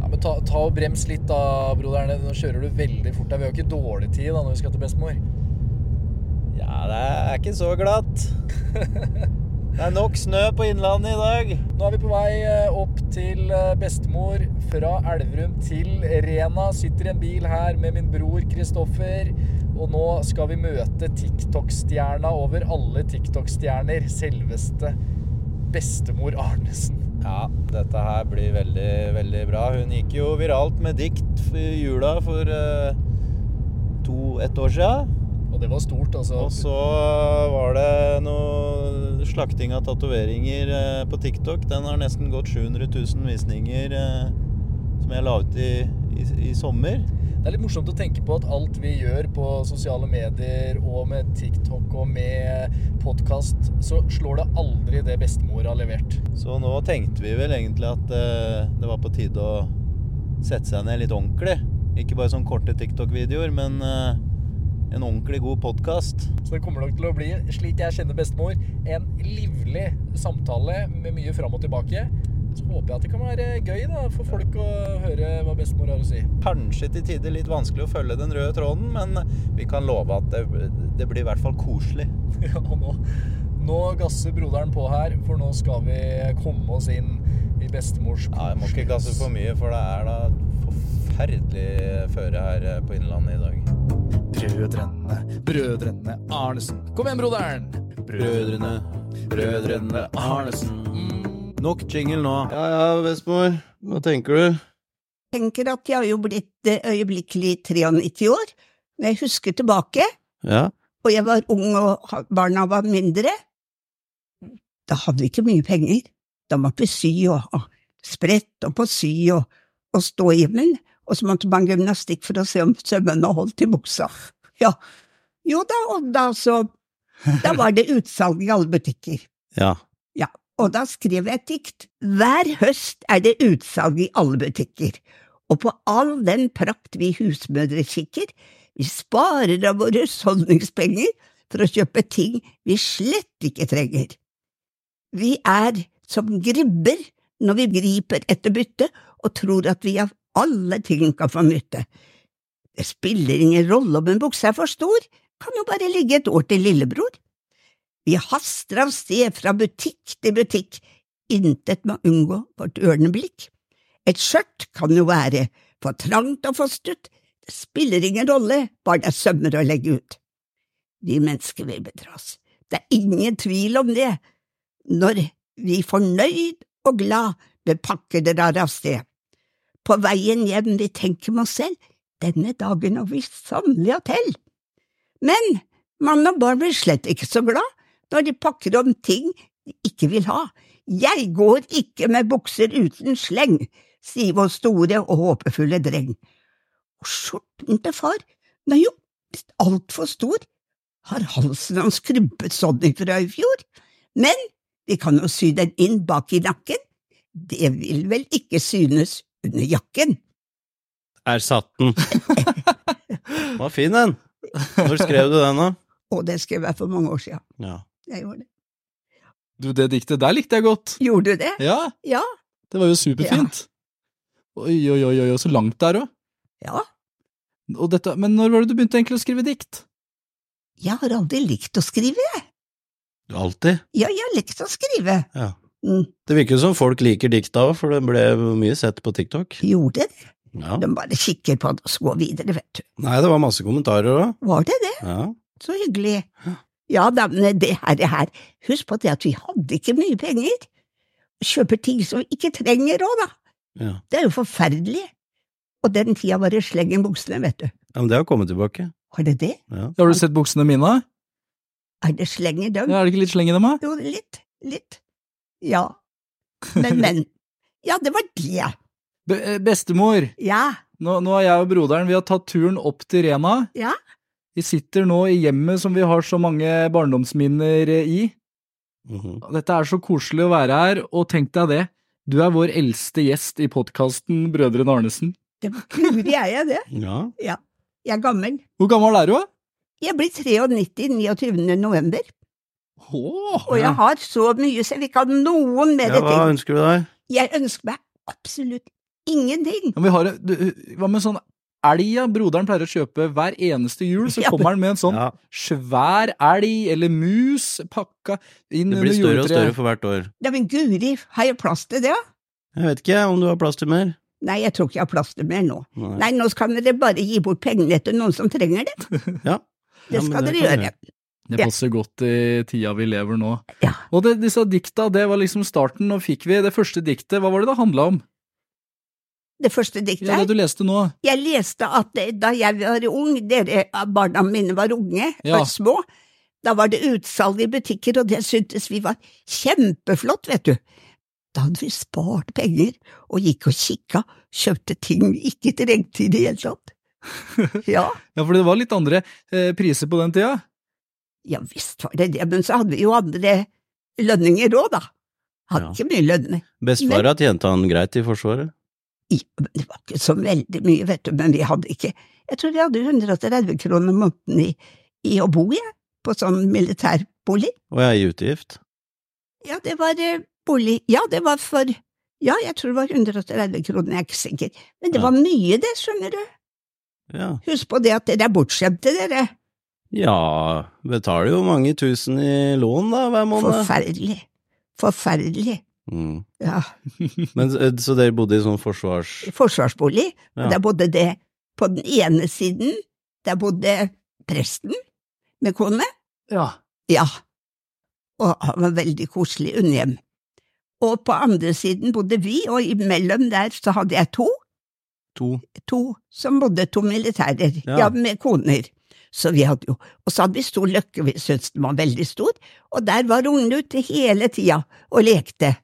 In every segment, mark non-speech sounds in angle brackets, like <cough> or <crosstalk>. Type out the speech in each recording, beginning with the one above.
Ja, men ta, ta og brems litt da, bro der nede. Nå kjører du veldig fort. der. Vi har ikke dårlig tid da når vi skal til bestemor. Ja, det er ikke så glatt. Det er nok snø på Innlandet i dag. Nå er vi på vei eh, opp til eh, bestemor fra Elverum til Rena. Sitter i en bil her med min bror Kristoffer. Og nå skal vi møte TikTok-stjerna over alle TikTok-stjerner. Selveste bestemor Arnesen. Ja, dette her blir veldig, veldig bra. Hun gikk jo viralt med dikt f- i jula for eh, to, ett år siden. Og det var stort, altså. Og så var det noe slakting av tatoveringer eh, på TikTok. Den har nesten gått 700 000 visninger eh, som jeg la ut i, i, i sommer. Det er litt morsomt å tenke på at alt vi gjør på sosiale medier og med TikTok og med podkast, så slår det aldri det bestemor har levert. Så nå tenkte vi vel egentlig at eh, det var på tide å sette seg ned litt ordentlig. Ikke bare sånne korte TikTok-videoer, men eh, en ordentlig god podkast. Så det kommer nok til å bli, slik jeg kjenner bestemor, en livlig samtale med mye fram og tilbake. Så håper jeg at det kan være gøy da, for folk å høre hva bestemor har å si. <laughs> Kanskje til tider litt vanskelig å følge den røde tråden, men vi kan love at det, det blir i hvert fall koselig. Ja, og nå, nå gasser broderen på her, for nå skal vi komme oss inn i bestemors Ja, jeg må ikke gasse for mye, for det er da forferdelig føre her eh, på Innlandet i dag. Brødrene, brødrene Arnesen. Kom igjen, broderen! brødrene Arnesen. Mm. Nok jingle nå. Ja ja, bestemor. Hva tenker du? tenker at jeg har jo blitt eh, øyeblikkelig 93 år. Når jeg husker tilbake, Ja. og jeg var ung og ha- barna var mindre, da hadde vi ikke mye penger. Da måtte vi sy og og sprette og på sy og, og stå i himmelen, og så måtte man gymnastikk for å se om sømmene holdt i buksa. Ja. Jo da, og da så Da var det utsalg i alle butikker. Ja. Og da skrev jeg et dikt. Hver høst er det utsalg i alle butikker, og på all den prakt vi husmødre kikker, vi sparer av våre husholdningspenger for å kjøpe ting vi slett ikke trenger. Vi er som gribber når vi griper etter bytte og tror at vi av alle ting kan få nytte. Det spiller ingen rolle om en bukse er for stor, kan jo bare ligge et år til lillebror. Vi haster av sted fra butikk til butikk, intet må unngå vårt ørende blikk. Et skjørt kan jo være for trangt og for stutt, det spiller ingen rolle, bare det er sømmer å legge ut. Vi mennesker vil bedras, det er ingen tvil om det, når vi fornøyd og glad bepakker det der av sted. På veien hjem vi tenker med oss selv, denne dagen har vi sannelig hotell. Men mann og barn blir slett ikke så glad når de pakker om ting de ikke vil ha. Jeg går ikke med bukser uten sleng, sier vår store og håpefulle dreng. Og skjorten til far, den er jo blitt altfor stor, har halsen hans krympet sånn ifra i fjor? Men vi kan jo sy den inn bak i nakken, det vil vel ikke synes under jakken. Ersatt <laughs> den. Den var fin, den. Når skrev du den, da? Og det skrev jeg for mange år siden. Ja. Jeg gjorde det. Du, det diktet der likte jeg godt. Gjorde du det? Ja, Ja. det var jo superfint. Oi, oi, oi, oi, oi, så langt det er òg. Ja. Og dette, men når var det du begynte egentlig å skrive dikt? Jeg har aldri likt å skrive. Du alltid. Ja, jeg har likt å skrive. Ja. Mm. Det virker jo som folk liker dikta òg, for det ble mye sett på TikTok. Gjorde det? Ja. De bare kikker på det, og så går videre, vet du. Nei, det var masse kommentarer òg. Var det det? Ja. Så hyggelig. Ja da, men det her, det her. Husk på det at vi hadde ikke mye penger. Kjøper ting som vi ikke trenger òg, da. ja. Det er jo forferdelig. Og den tida var det sleng i buksene, vet du. Ja, Men det har kommet tilbake. Var det det? Ja. Har du sett buksene mine? Er det sleng i dem? Ja, er det ikke litt sleng i dem, da? Jo, litt. Litt. Ja. Men, <laughs> men. Ja, det var det. Be eh, bestemor, Ja. nå, nå er jeg og broderen, vi har tatt turen opp til Rena. Ja. Vi sitter nå i hjemmet som vi har så mange barndomsminner eh, i. Mhm. Dette er så koselig å være her, og tenk deg det. Du er vår eldste gjest i podkasten Brødrene Arnesen. Det var guri er jeg det. ja. Jeg er gammel. Hvor gammel er du, da? Jeg blir 93 29. november. Åh, Og jeg har så mye, så jeg vil ikke ha noen ja. mer Hva ting. ønsker du deg? Jeg ønsker meg absolutt Ingenting! Ja, men vi har, en- du, hva med sånn elg ja, broderen pleier å kjøpe hver eneste jul? Så <laughs> Ja, men- kommer han med en sånn Ja, svær elg eller mus pakka inn det under blir større og større juletreet. for hvert år. Ja, men guri, har jeg plass til det? Jeg vet ikke om du har plass til mer. Nei, jeg tror ikke jeg har plass til mer nå. Nei. Nei, nå skal dere bare gi bort pengene til noen som trenger <laughs> det. Ja. Ja, Det men skal det dere kan gjøre. Det Ja. passer godt i tida vi lever nå. Ja. Og det, disse dikta, det var liksom starten. Nå fikk vi det første diktet. Hva var det det handla om? Det første diktet Ja, det her. du leste nå. Jeg leste at det- da jeg var ung, dere eh, barna mine var unge Ja. og små, da var det utsalg i butikker, og det syntes vi var kjempeflott, vet du. Da hadde vi spart penger og gikk og kikka, kjøpte ting vi ikke trengte i det hele tatt. <laughs> Ja, Ja, for det var litt andre eh, priser på den tida. ja visst var det det, men så hadde vi jo andre lønninger òg, da. Hadde Ja. ikke mye lønn. Bestefara tjente han greit i Forsvaret. Ja, men det var ikke så veldig mye, vet du, men vi hadde ikke Jeg tror vi hadde 130 kroner måneden i, i å bo, jeg, på sånn militærbolig. Og jeg er i utgift. Ja, det var eh, bolig Ja, det var for Ja, jeg tror det var 130 kroner, jeg er ikke sikker. Men det Ja. var mye, det, skjønner du. Ja. Husk på det at dere er bortskjemte, dere. ja, betaler jo mange tusen i lån da, hver måned. Forferdelig. Forferdelig. Mm. Ja. Men, så- så dere bodde i sånn forsvars... Forsvarsbolig. Ja. Og der bodde det På den ene siden, der bodde presten med kone. Ja. Ja, og han var veldig koselig unnhjem. Og på andre siden bodde vi, og imellom der så hadde jeg to, To. to som bodde to militærer, Ja. ja, med koner. Så vi hadde jo, og så hadde vi stor løkke, vi syntes den var veldig stor, og der var ungene ute hele tida og lekte.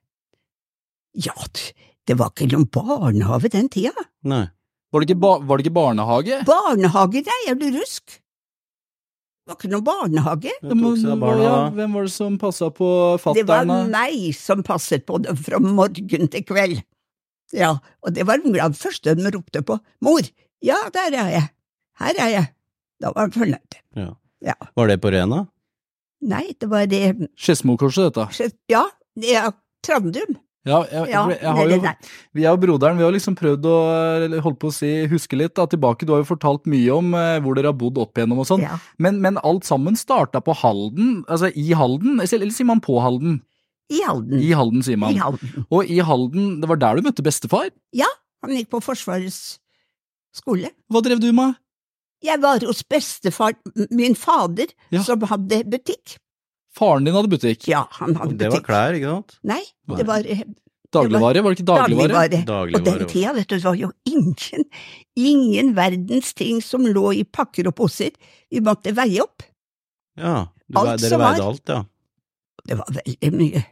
Ja, du, det var ikke noen barnehage den tida. Nei. Var det ikke, ba var det ikke barnehage? Barnehage, nei, er du rusk? Det var ikke noen barnehage. Det tok seg av barna ja, da. hvem var det som passa på Det var fatter'n? meg som passet på dem fra morgen til kveld. Ja, og det var hun glad for først hun ropte på mor. Ja, der er jeg. Her er jeg. Da var hun fornøyd. Var det på Rena? Nei, det var det Skedsmokorset, dette. Ja, det er Trandum. Ja, jeg, Ja, jeg, jeg har det jo, er det vi og broderen vi har liksom prøvd å eller holdt på å si, huske litt da, tilbake. Du har jo fortalt mye om eh, hvor dere har bodd opp igjennom og sånn. Ja. Men, men alt sammen starta på Halden, altså i Halden, eller eller sier man på Halden? I Halden. I Halden, sier I man. Halden. Og i Halden, det var der du møtte bestefar? Han gikk på Forsvarets skole. Hva drev du med? Jeg var hos bestefar, min fader, Ja. som hadde butikk. Faren din hadde butikk. Ja, han hadde Det var butikk. klær, ikke sant? Nei, Nei. det var eh, Dagligvare, var det ikke dagligvare? dagligvare. Og Dagligvare. den tida, vet du, det var jo ingen, ingen verdens ting som lå i pakker og poser. Vi måtte veie opp. Ja. Du, Alt dere som var. veide alt, ja. Det var veldig mye.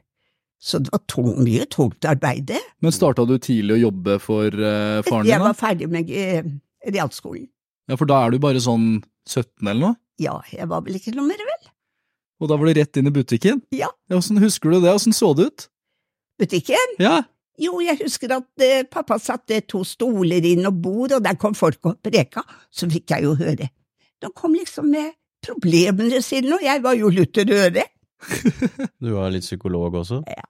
Så det var tung, mye tungt arbeid. det. Men starta du tidlig å jobbe for eh, faren din? Jeg da? var ferdig med eh, realskolen. Ja, For da er du bare sånn 17 eller noe? Ja, jeg var vel ikke noe mer, vel? Og da var du rett inn i butikken? Ja. Åssen husker du det? Åssen så det ut? Butikken? Ja, Jo, jeg husker at eh, pappa satte to stoler inn og bord, og der kom folk og preka. Så fikk jeg jo høre. De kom liksom med problemene sine, og jeg var jo lutter øre. Du var litt psykolog også? Eh.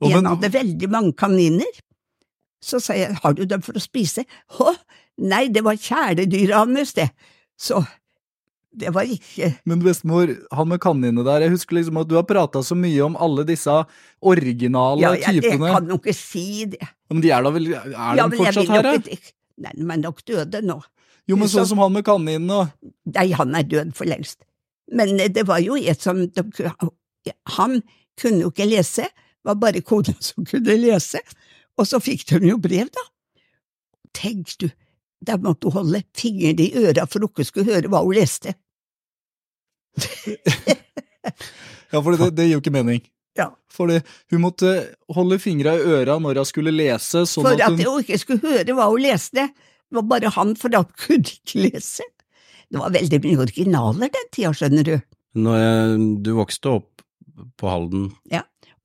Og En men- hadde veldig mange kaniner. Så sa jeg, har du dem for å spise? Å, nei, det var kjæledyra hans, det. Så det var ikke Men bestemor, han med kaninene der, jeg husker liksom at du har prata så mye om alle disse originale Ja, jeg, jeg typene. kan jo ikke si det. Men de er da vel Er Ja, de men jeg fortsatt vil her, nok da? ikke- liksom- Nei, de er nok døde nå. Jo, men sånn så- som han med kaninene og Nei, han er død for lengst. Men eh, det var jo et som de, Han kunne jo ikke lese, det var bare kona som kunne lese. Og så fikk de jo brev, da. Tenk du, der måtte hun holde fingrene i øra for hun ikke skulle høre hva hun leste. Ja, for det, det gir jo ikke mening. Ja. Fordi hun måtte holde fingra i øra når hun skulle lese, sånn for at at hun hun ikke skulle høre hva hun leste. Det var bare han, for han kunne ikke lese. Det var veldig mye originaler den tida, skjønner du. Når jeg, du vokste opp på Halden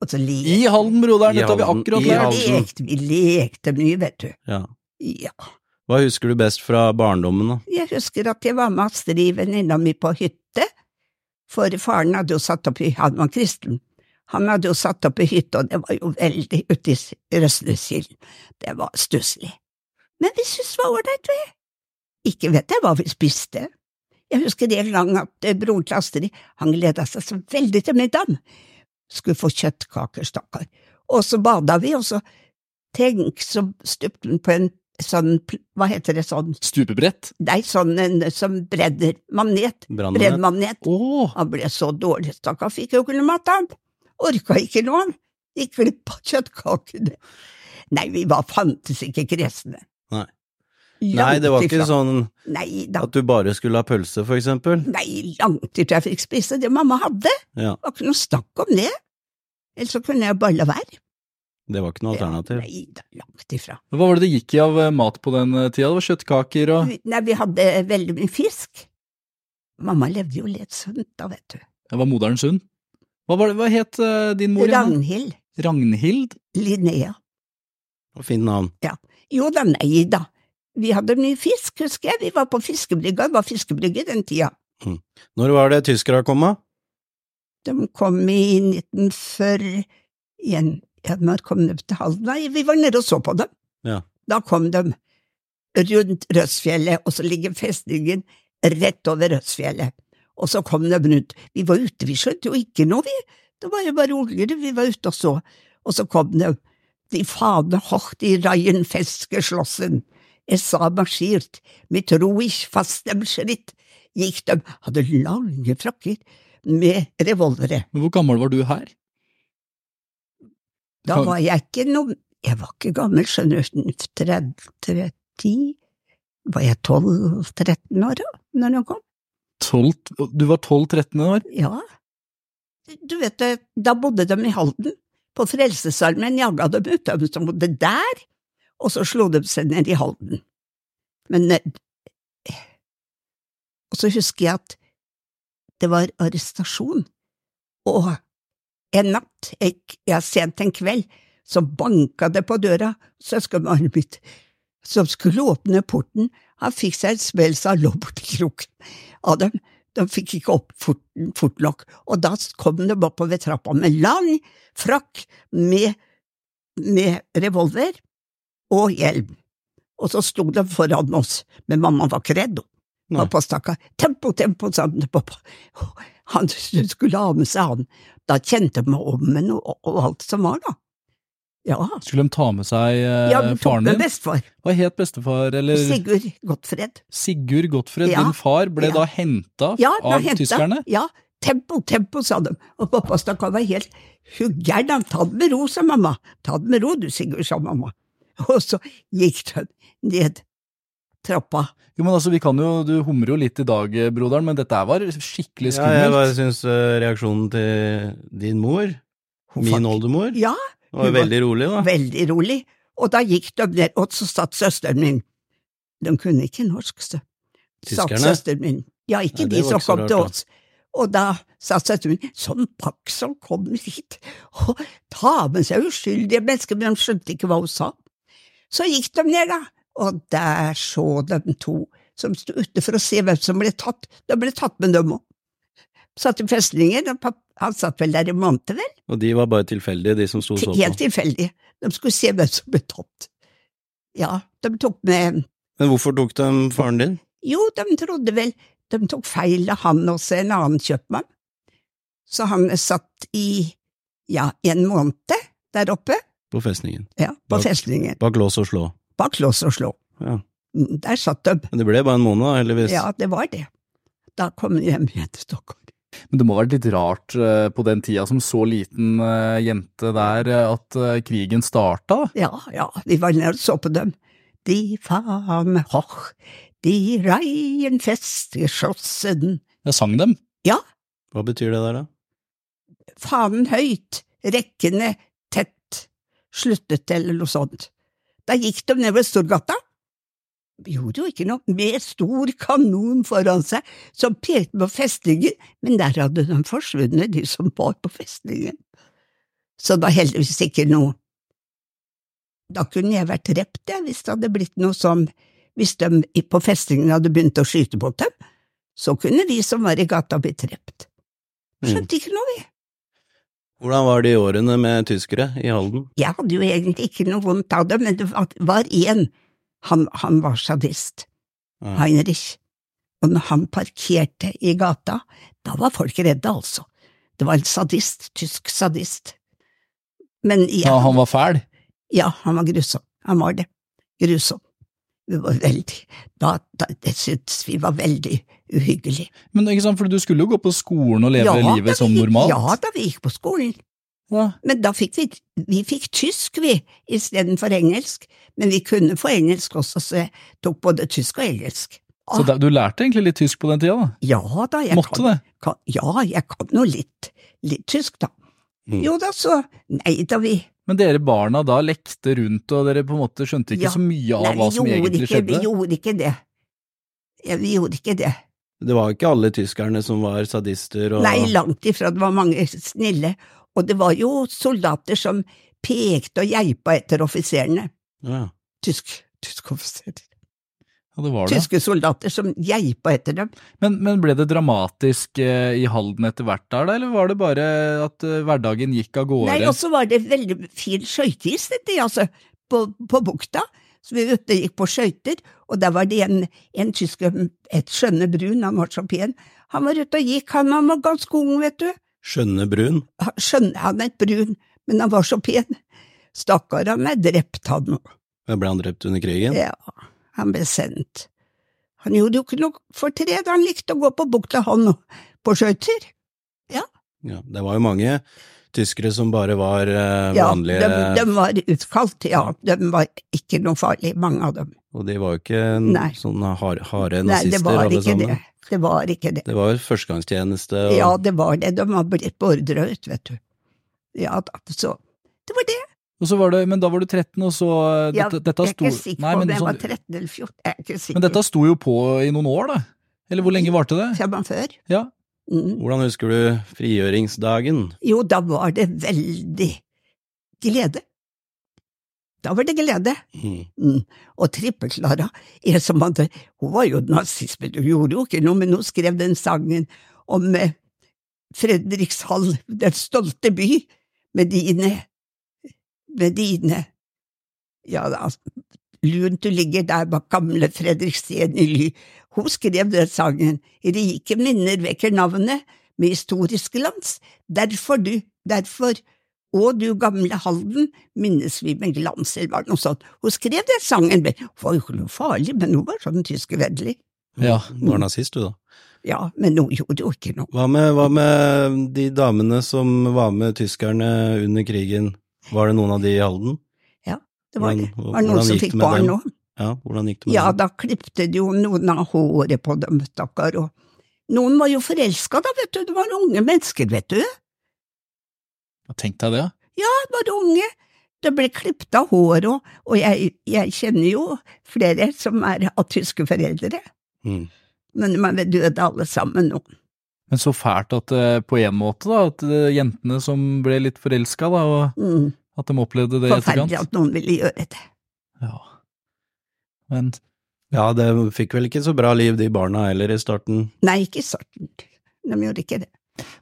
Og så I le- Halden, broderen, I dette har vi Halden, akkurat i lært. Halden. lekte, vi lekte mye, vet du. Ja. Ja. Hva husker du best fra barndommen, da? Jeg husker at jeg var med Astrid, venninna mi, på hytte, for faren hadde jo satt opp hy- Han var kristen. Han hadde jo satt opp ei hytte, og det var jo veldig uti Røsnesilden. Det var stusslig. Men vi syntes det var ålreit, vi. Ikke vet jeg hva vi spiste. Jeg husker en gang at eh, broren til Astrid, han gleda seg så veldig til middagen. Skulle få kjøttkaker, stakkar. Og så bada vi, og så Tenk, så stupte hun på en sånn, pl- hva heter det sånn, Stupebrett. nei, sånn en som bredder, magnet, Brannmann. breddmagnet. Åh, Han ble så dårlig, stakkar, fikk jo ikke noe mat, han. Orka ikke noe, han. Gikk glipp av kjøttkakene. Nei, vi var fantes ikke kresne. Nei. Nei, Langt det var ikke ifra. sånn Nei da. at du bare skulle ha pølse, for eksempel. Nei, langt ifra jeg fikk spise det mamma hadde. Ja, Det var ikke noe snakk om det. Ellers så kunne jeg bare la være. det var ikke noe alternativ. Nei da, langt ifra. hva var det det gikk i av eh, mat på den eh, tida? Det var kjøttkaker og Vi- Nei, vi hadde veldig mye fisk. Mamma levde jo litt sunt da, vet du. Det var moderen sunn. Hva, var det, hva het eh, din mor? igjen? Ragnhild. Ragnhild? Linnea. Fint navn. Jo da, nei da. Vi hadde mye fisk, husker jeg. Vi var på fiskebrygga. Det var fiskebrygge den tida. Når var det tyskere kom, da? De kom i 1940 igjen. Ja, når kom de til Halden? Nei, vi var nede og så på dem. Ja. Da kom de rundt Rødsfjellet, og så ligger festningen rett over Rødsfjellet. Og så kom de rundt. Vi var ute, vi skjønte jo ikke noe, vi. Det var jo bare unger, vi var ute og så. Og så kom de. De fane hocht i Reihen festgeschlossen. Es sah marschiert, mit ruhig fastem skritt. Gikk de, hadde lange frakker med revolvere. Men Hvor gammel var du her? Da Kan- var jeg ikke noe Jeg var ikke gammel, skjønner du. 30, 30 Var jeg 12-13 år da når den kom? 12, du var 12-13 år? Ja. Du vet det, da bodde de i Halden. På Frelsesarmeen jaga dem ut, de som bodde der, og så slo de seg ned i Halden. Men eh, Og så husker jeg at det var arrestasjon, og en natt, jeg, ja, sent en kveld, så banka det på døra, søskenbarnet mitt, som skulle åpne porten, han fikk seg et smell av lommekroken av dem, de fikk ikke opp forten fort nok, og da kom de oppover trappa med lang frakk med, med revolver og hjelm, og så sto de foran oss, men mamma var ikke redd, hun. Nei. Pappa stakk av. Tempo, tempo, sa han til pappa. <laughs> Han skulle ha med seg han. Da kjente de meg om med noe, og- og alt som var, da. Ja, Skulle de ta med seg eh, ja, vi tok faren din? med Eh, bestefar. Hva het bestefar, eller Sigurd Gottfred. Sigurd Gottfred, Ja. din far, ble Ja. da henta Ja, da av hentet- tyskerne? Ja, tempo, tempo, sa de. Og pappa stakk av var helt huggern. Han ta det med ro, sa mamma. Ta det med ro, du, Sigurd, sa mamma. Og så gikk de ned trappa. Jo, men altså, vi kan jo, Du humrer jo litt i dag, eh, broderen, men dette her var skikkelig Ja, jeg bare skummelt. syns eh, reaksjonen til din mor, Hun min fant- oldemor, Ja, var hun var- veldig rolig, da. veldig rolig. Og da gikk de ned, og så satt søsteren min. De kunne ikke norsk, så. Satt Tyskerne? søsteren min. Ja, ikke Nei, det de var som ikke så kom rart, til da. oss. Og da sa søsteren min, sånn pakk som kommer hit, og ta med seg uskyldige mennesker, men de skjønte ikke hva hun sa. Så gikk de ned, da, og der så de to som sto ute for å se hvem som ble tatt. De ble tatt med dem òg. Satt i festningen, og papp- han satt vel der i måneder, vel? Og de var bare tilfeldige, de som sto og så Helt på. tilfeldig. De skulle se hvem som ble tatt. Ja, de tok med Men hvorfor tok de faren din? Jo, de trodde vel De tok feil av han også, en annen kjøpmann. Så han satt i ja, en måned der oppe, På festningen. ja, på Bak- festningen, Bak lås og slå. bak lås og slå. Ja. Mm, Der satt de. Men det ble bare en måned, da, heldigvis. Ja, det var det. Da kom de hjem igjen til Stockholm. Men det må ha vært litt rart eh, på den tida, som så liten eh, jente der, eh, at eh, krigen starta. Ja, ja, vi var nede og så på dem. De faen hoch, de reien festgeschossen. Jeg sang dem. Hva betyr det der, da? fanen høyt, rekkene tett, sluttet eller noe sånt. Da gikk de nedover Storgata. Gjorde jo ikke noe, med stor kanon foran seg, som pekte på festningen, men der hadde de forsvunnet, de som var på festningen. Så det var heldigvis ikke noe. Da kunne jeg vært drept, jeg, hvis det hadde blitt noe som… Hvis de i- på festningen hadde begynt å skyte mot dem, så kunne vi som var i gata, blitt drept. Mm. Skjønte ikke noe, vi. Hvordan var de årene med tyskere i Halden? Jeg hadde jo egentlig ikke noe vondt av det, men det var- var én. Han, han var sadist, Ja. Heinrich. Og når han parkerte i gata, da var folk redde, altså. Det var en sadist, tysk sadist. Men jeg, Ja, han var fæl. ja, han var grusom. Han var det. Grusom. Det var veldig da, da, Det syntes vi var veldig uhyggelig. Men ikke sant, for du skulle jo gå på skolen og leve da, livet som vi gikk, normalt. ja, da vi gikk på skolen. Ja. Men da fikk vi, vi fikk tysk, vi, istedenfor engelsk. Men vi kunne få engelsk også, så jeg tok både tysk og engelsk. Så da- du lærte egentlig litt tysk på den tida, da? Ja da, Ah. jeg Måtte kan, det? kan Ja, jeg kan jo litt, litt tysk, da. Mm. Jo da, så Nei da, vi Men dere barna da lekte rundt, og dere på en måte skjønte ikke Ja. så mye av Nei, vi hva som gjorde egentlig ikke, vi skjedde? gjorde ikke det. Ja, vi gjorde ikke det. Det var ikke alle tyskerne som var sadister og Nei, langt ifra. Det var mange snille. Og det var jo soldater som pekte og geipa etter offiserene. Ja. Tysk, tyske offiserer. Ja, det var det. Tyske soldater som geipa etter dem. Men, men ble det dramatisk eh, i Halden etter hvert der, da, eller var det bare at eh, hverdagen gikk av gårde? Nei, altså- og så var det veldig fin skøyteis, dette, altså, på, på bukta. Så vi ute gikk på skøyter, og der var det en, en tysker, et skjønne brun, han var så pen. Han var ute og gikk, han, han var ganske ung, vet du. Skjønne brun. Han- Skjønne, han het brun, men han var så pen. Stakkar, han er drept, han nå. Ble han drept under krigen? Ja, han ble sendt. Han gjorde jo ikke noe fortred, han likte å gå på bukta, han, og på skøyter. Ja. Det var jo mange tyskere som bare var eh, Ja, vanlige de, de var utkalt, ja, de var ikke noe farlig, mange av dem. Og de var jo ikke Nei. sånne har- harde Nei, det nazister, var alle ikke sammen. det. Det var ikke det. Det var jo førstegangstjeneste og Ja, det var det. De var blitt beordra ut, vet du. Ja da, så Det var det. Og så var det, men da var du 13, og så eh, Ja, dette, dette jeg er sto, ikke sikker Nei, på om men jeg sånn- var 13 eller 14. Jeg er ikke sikker. Men dette sto jo på i noen år, da? Eller hvor lenge varte det? Fem år før. Ja. Mm. Hvordan husker du frigjøringsdagen? Jo, da var det veldig glede. Da var det glede. Mm. Mm. Og Trippe-Klara, en som hadde Hun var jo nazist, men hun gjorde jo ikke noe, men hun skrev den sangen om eh, Fredrikshall, den stolte by, med dine Med dine Ja, altså, da, lunt du ligger der bak gamle Fredriksten i ly. Hun skrev den sangen. Rike minner vekker navnet med historisk glans. Derfor du, derfor, og du gamle Halden, minnes vi med glans, eller var det noe sånt. Hun skrev den sangen, men hun var jo ikke noe farlig, men hun var sånn tyskervennlig. Ja. Du var nazist, du, da. Ja, men hun gjorde jo ikke noe. Hva med, hva med de damene som var med tyskerne under krigen? Var det noen av de i Halden? Det var, det Hvordan- var hvordan noen som gikk det fikk med barn dem? òg. Ja, hvordan gikk det med Ja, dem? da klipte de jo noen av håret på dem, stakkar, og noen var jo forelska da, vet du, det var unge mennesker, vet du. Tenk deg det. Det var unge. Det ble klippet av håret, og- og jeg, jeg kjenner jo flere som er av tyske foreldre, Mm. men de er døde alle sammen nå. Men så fælt at eh, på en måte, da, at eh, jentene som ble litt forelska, da, og Mm. at de opplevde det i Forferdelig etterkant. at noen ville gjøre det. Ja. Men Ja, det fikk vel ikke så bra liv, de barna heller, i starten. Nei, ikke i starten. De gjorde ikke det.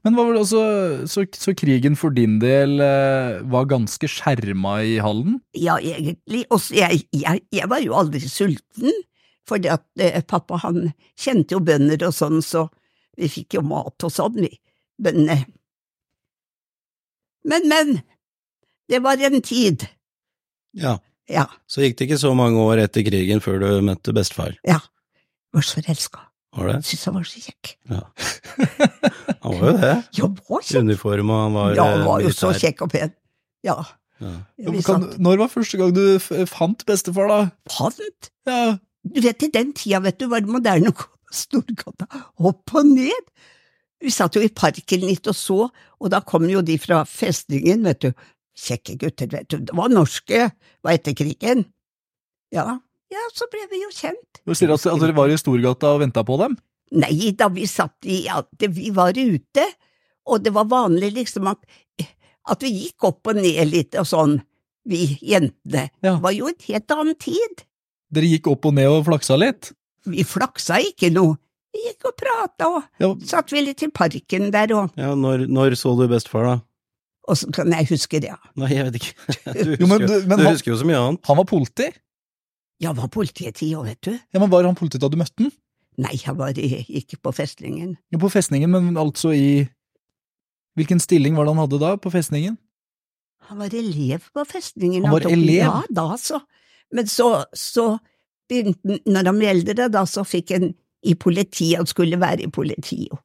Men hva var det også, så, så krigen for din del eh, var ganske skjerma i Halden? Ja, egentlig. Og så jeg, jeg, jeg var jo aldri sulten, fordi at eh, pappa han kjente jo bønder og sånn, så vi fikk jo mat og sånn, vi bøndene. Men, men, det var en tid, Ja, ja, Så gikk det ikke så mange år etter krigen før du møtte bestefar, jeg var så forelska, var det? syntes han var så kjekk. Han var jo det. Ja, var I kjekk. uniform, og han var, Ja, han eh, var jo så militær. kjekk og pen. Ja, Ja. vi Kan, satt når var første gang du f eh, fant bestefar, da? pant. Ja, Du vet, i den tida, vet du, var det moderne å gå på Storgata opp og ned. Vi satt jo i parken litt og så, og da kom jo de fra festningen, vet du. Kjekke gutter, vet du. Det var norske, var etter krigen. Ja, ja, så ble vi jo kjent. Du sier at, at dere var i Storgata og venta på dem? Nei da, vi satt i ja, det, Vi var ute, og det var vanlig liksom at, at vi gikk opp og ned litt og sånn, vi jentene. Ja. Det var jo en helt annen tid. Dere gikk opp og ned og flaksa litt? Vi flaksa ikke noe. Vi gikk og prata og <laughs> Ja, satt vi litt i parken der og ja når, når så du bestefar, da? Og så kan jeg huske det. Nei, jeg vet ikke. <laughs> Du husker, Jo, men, jo- du- men du han, husker jo så mye annet. han var politi? Jeg var politiet ti år, vet du. Ja, men Var han politi da du møtte han? Nei, jeg var i- ikke på festningen. Jo, på festningen, men altså i Hvilken stilling var det han hadde da, på festningen? Han var elev på festningen. Han var tok- elev? Ja, da så. Men så, så begynte han, når han ble eldre, da så fikk han i politiet, han skulle være i politiet.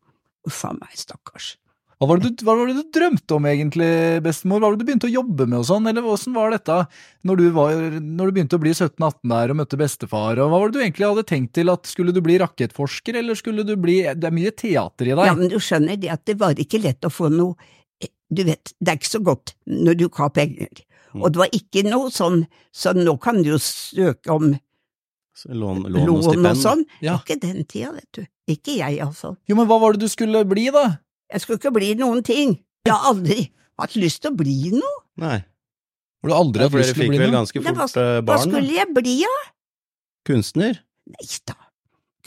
Uff a meg, stakkars. Hva var, det du, hva var det du drømte om egentlig, bestemor? Hva var det du begynte å jobbe med og sånn, eller åssen var dette når du, var, når du begynte å bli 17-18 der og møtte bestefar, og hva var det du egentlig hadde tenkt til at skulle du bli rakettforsker, eller skulle du bli… Det er mye teater i deg. Ja, men du skjønner det at det var ikke lett å få noe eh, Du vet, det er ikke så godt når du ikke har penger. Mm. Og det var ikke noe sånn Så nå kan du jo søke om Så Lån, lån, lån og og, stipend. sånn. Ja. Ikke den tida, vet du. Ikke jeg, altså. Jo, men hva var det du skulle bli, da? Jeg skulle ikke bli noen ting. Jeg har aldri hatt lyst til å bli noe. Nei, Har du aldri ja, hatt for lyst til dere å fikk bli vel noe? ganske Nei, hva- fort eh, Hva barn? da. skulle jeg bli, av? Kunstner? Nei da.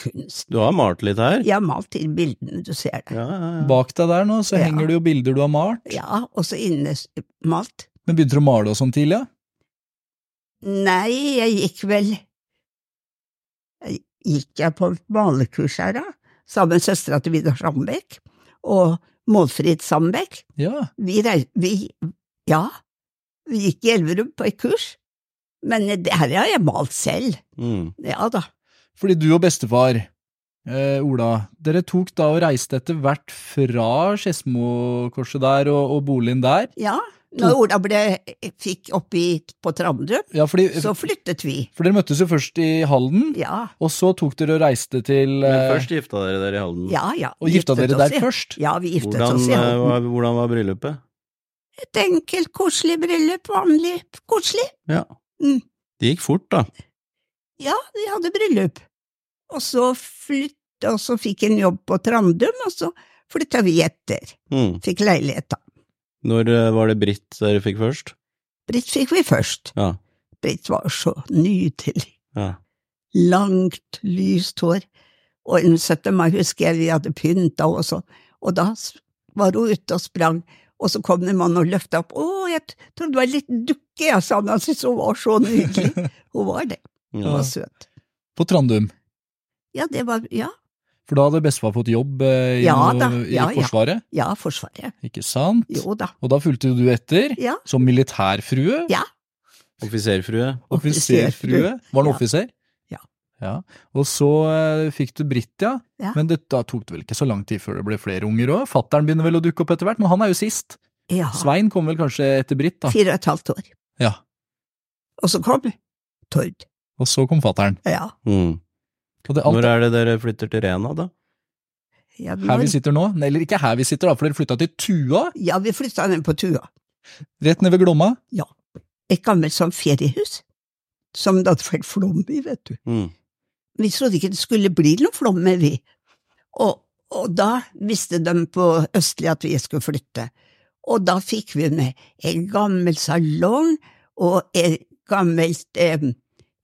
Kunst. Du har malt litt her? Jeg har malt inn bildene, du ser det. ja, ja. ja. Bak deg der nå, så Ja. henger det jo bilder du har malt. Ja, og så innemalt. Men begynte du å male og sånn tidlig? ja? Nei, jeg gikk vel Gikk jeg på malekurs her, da? Sammen med søstera til Vidar Sandbekk og Målfrid Sandbekk. Ja. Vi reiste vi, Ja, vi gikk i Elverum på et kurs, men det her har jeg malt selv. Mm. Ja da. Fordi du og bestefar, eh, Ola, dere tok da og reiste etter hvert fra Skedsmokorset der og, og boligen der. Ja, når Ola ble, fikk oppi på Trandum, Ja, fordi, så flyttet vi. For dere møttes jo først i Halden, Ja, og så tok dere og reiste til Men eh, først gifta dere dere i Halden. ja. ja. Og gifta Giftet dere oss der i- først. Ja, vi giftet Hvordan, oss i eh, Halden. var, hvordan var bryllupet? Et enkelt, koselig bryllup. Vanlig koselig. Det gikk fort, da. Ja, vi hadde bryllup. Og så flytt, og så fikk en jobb på Trandum, og så flytta vi etter. Mm. Fikk leilighet, da. Når eh, var det Britt dere fikk først? Britt fikk vi først. Ja. Britt var så nydelig. Ja. Langt, lyst hår. Og en 17. mai husker jeg vi hadde pynta og sånn, og da s- var hun ute og sprang, og så kom en mann og løfta opp. Å, jeg t- trodde det var en liten dukke, jeg, sa han, han syntes hun var så <laughs> nydelig. Hun var det, hun Ja. var søt. eh, på Trandum. Ja, det var, ja, For da hadde bestefar fått jobb eh, i, Ja noe- da, ja, i ja. Forsvaret, ja, Forsvaret. ikke sant? Jo da. Og da fulgte du etter Ja. som militærfrue? Ja. Offiserfrue. Offiserfrue? Var han Ja. offiser? Ja. Ja. Og så eh, fikk du Britt, ja. Ja. Men det, da tok det vel ikke så lang tid før det ble flere unger òg? Fattern begynner vel å dukke opp etter hvert, men han er jo sist. Ja, Svein kom vel kanskje etter Britt, da. fire og et halvt år. Ja. Og så kom Tord. Og så kom fattern. Ja, Mm. Og det, Når alt, er det dere flytter til Rena, da? ja, her vi vi, sitter nå, nei, eller ikke her vi sitter, da, for dere flytta til Tua, ja, vi flytta ned på Tua. rett nede ved Glomma. Et gammelt sånn feriehus, som det hadde vært flom i, vet du. Mm. Vi trodde ikke det skulle bli noe flom med, vi. Og, og da visste de på Østli at vi skulle flytte. Og da fikk vi med en gammel salong og en gammelt, eh,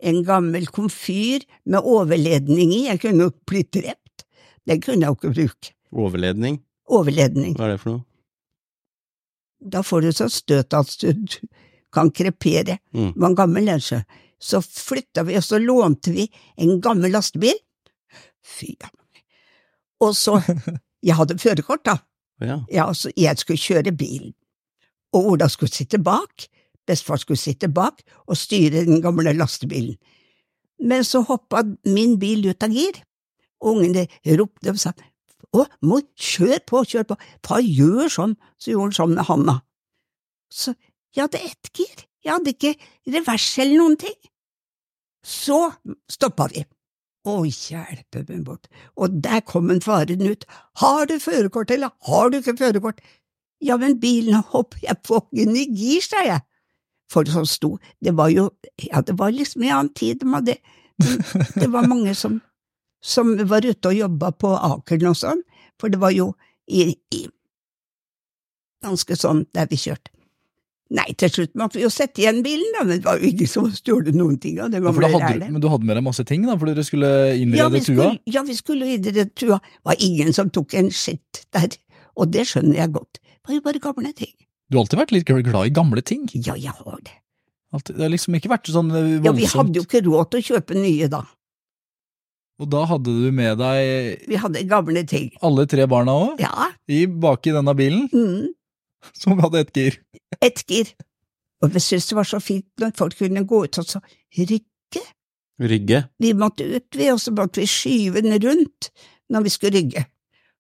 en gammel komfyr med overledning i. Jeg kunne jo bli drept. Den kunne jeg jo ikke bruke. Overledning, Overledning. hva er det for noe? Da får du sånn støt at du kan krepere. Mm. var en gammel lensjø. Så flytta vi, og så lånte vi en gammel lastebil. Fy a meg. Og så Jeg hadde førerkort, da. Ja. Ja, og så jeg skulle kjøre bilen. Og Ola skulle sitte bak. Bestefar skulle sitte bak og styre den gamle lastebilen. Men så hoppa min bil ut av gir. Ungene ropte og sa å, mor, kjør på, kjør på, far gjør sånn, så gjorde han sånn med handa. Så jeg hadde ett gir, jeg hadde ikke revers eller noen ting. Så stoppa vi. Å, hjelpe meg bort. Og der kom en faren ut. Har du førerkort, eller har du ikke førerkort? Ja, men bilen hopper jeg fucken i gir, sa jeg. For som sto, det var jo, ja, det var liksom i annen tid, de hadde, det var mange som, som var ute og jobba på Akeren og sånn, for det var jo i, i ganske sånn der vi kjørte. Nei, til slutt måtte vi jo sette igjen bilen, da, men det var jo ingen som stjålet noen ting av det Ja, for gamle da hadde, du- rælet. men du hadde med deg masse ting, da, for dere skulle Ja, vi innrede Tua? skulle, ja, vi skulle jo i det tua. Det var ingen som tok en skitt der, og det skjønner jeg godt. Det var jo bare gamle ting. Du har alltid vært litt glad i gamle ting. Ja, jeg har det. Alltid- Det har liksom ikke vært sånn eh, Ja, vi hadde voldsomt. jo ikke råd til å kjøpe nye da. Og da hadde du med deg Vi hadde gamle ting. alle tre barna òg, Ja, i bak i denne bilen, mm, som hadde ett gir. ett gir. Og jeg syntes det var så fint når folk kunne gå ut og så rygg. Rygge. Vi måtte ut, vi, og så måtte vi skyve den rundt når vi skulle rygge.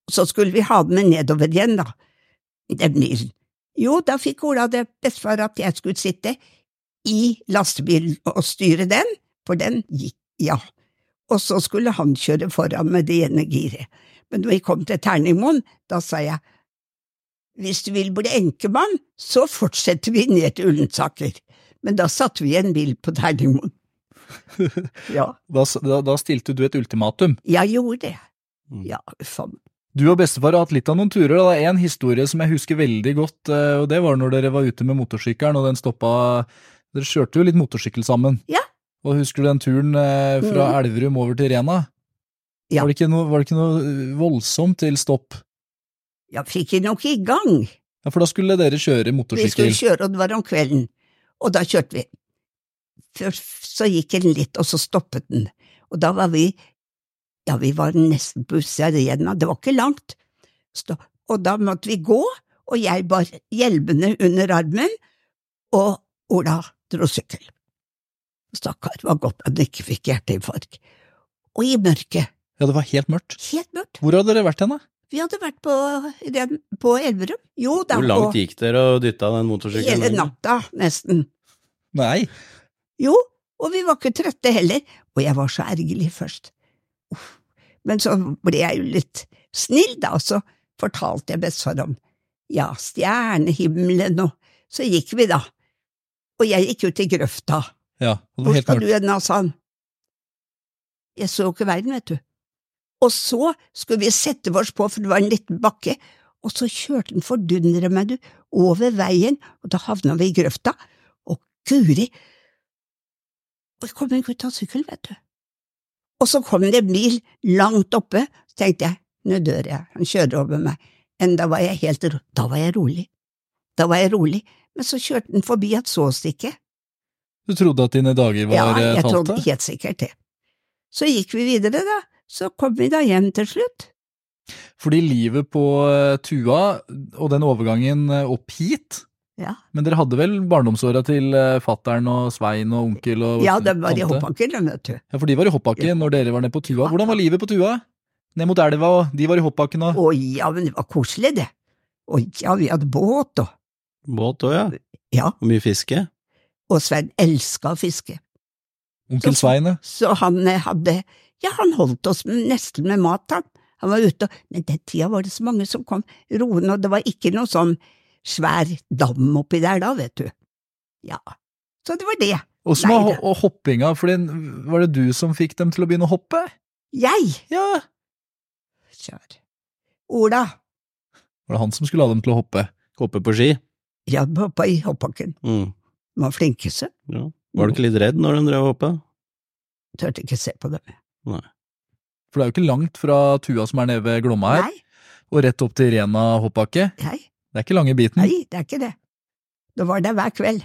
Og så skulle vi ha den med nedover igjen, da. i Den bilen. Jo, da fikk Ola det bestefar at jeg skulle sitte i lastebilen og styre den, for den gikk, ja. Og så skulle han kjøre foran med det ene giret. Men når vi kom til Terningmoen, da sa jeg hvis du vil bli enkemann, så fortsetter vi ned til Ullensaker. Men da satte vi en bil på Terningmoen. Ja. Da, s- da, da stilte du et ultimatum. Jeg gjorde det. Mm. Ja, faen. Du og bestefar har hatt litt av noen turer. og Det er én historie som jeg husker veldig godt, eh, og det var når dere var ute med motorsykkelen, og den stoppa Dere kjørte jo litt motorsykkel sammen. Ja. Og husker du den turen eh, fra Mhm. Elverum over til Rena? Ja. Var, det ikke noe, var det ikke noe eh, voldsomt til stopp? Jeg fikk det nok i gang. Ja, For da skulle dere kjøre Vi skulle motorsykkel. kjøre, og det var om kvelden. Og da kjørte vi. Først så gikk den litt, og så stoppet den. Og da var vi Ja, vi var nesten på utsida av Rena, det var ikke langt. Stå- Og da måtte vi gå, og jeg bar hjelmene under armen, og Ola dro sykkel. Stakkar, det var godt han ikke fikk hjerteinfarkt. Og i mørket, Ja, det var helt mørkt. helt mørkt, Hvor hadde dere vært hen, da? Vi hadde vært på, den- på Elverum. Jo da, Hvor langt og gikk dere og dytta den motorsykkelen? hele inn? natta, nesten. Nei. Jo, og vi var ikke trøtte heller, og jeg var så ergerlig først. Uff. Men så ble jeg jo litt snill, da, og så fortalte jeg bestefar om ja, stjernehimmelen, og så gikk vi, da. Og jeg gikk ut i grøfta. Ja, det Hvor var helt skal du mørkt. hen, da, sa han. Jeg så jo ikke verden, vet du. Og så skulle vi sette oss på, for det var en liten bakke, og så kjørte den fordundre meg, du, over veien, og da havna vi i grøfta, og guri, og jeg kom en gutt av sykkel, vet du. Og så kom det en bil langt oppe, så tenkte jeg, nå dør jeg, han kjører over meg, men da var jeg helt, ro- da var jeg rolig, da var jeg rolig, men så kjørte den forbi, han så oss ikke, Du trodde at dine dager var ja, eh, jeg trodde talte? helt sikkert det. Så gikk vi videre, da. Så kom vi da hjem til slutt. Fordi livet på eh, Tua og den overgangen eh, opp hit Ja. Men dere hadde vel barndomsåra til eh, fattern og Svein og onkel og Ja, den var i tante? Hoppaker, den, vet du. Ja, for de var i Hoppakken Ja. når dere var nede på Tua. Ja. Hvordan var livet på Tua? Ned mot elva, og de var i Hoppakken og Å ja, men det var koselig, det. Å ja, vi hadde båt, og Båt òg, ja. Ja. Og mye fiske. Og Svein elska å fiske. onkel Svein. ja. Så han eh, hadde Ja, han holdt oss med- nesten med mat, han. Han var ute og Men den tida var det så mange som kom roende, og det var ikke noe sånn svær dam oppi der da, vet du. Ja. Så det var det. Og så var Nei, ho- det- og hoppinga, for var det du som fikk dem til å begynne å hoppe? Jeg! Ja! Kjør. Ola, Var det han som skulle ha dem til å hoppe? Hoppe på ski. jeg hadde hoppa i hoppbakken. Mm. De var flinke, så Ja. Var du ikke litt redd når de drev og hoppa? jeg turte ikke se på dem. For det er jo ikke langt fra Tua som er nede ved Glomma her, Nei, og rett opp til Rena hoppakke. nei, Det er ikke lange biten. nei, det er ikke det. Da var der hver kveld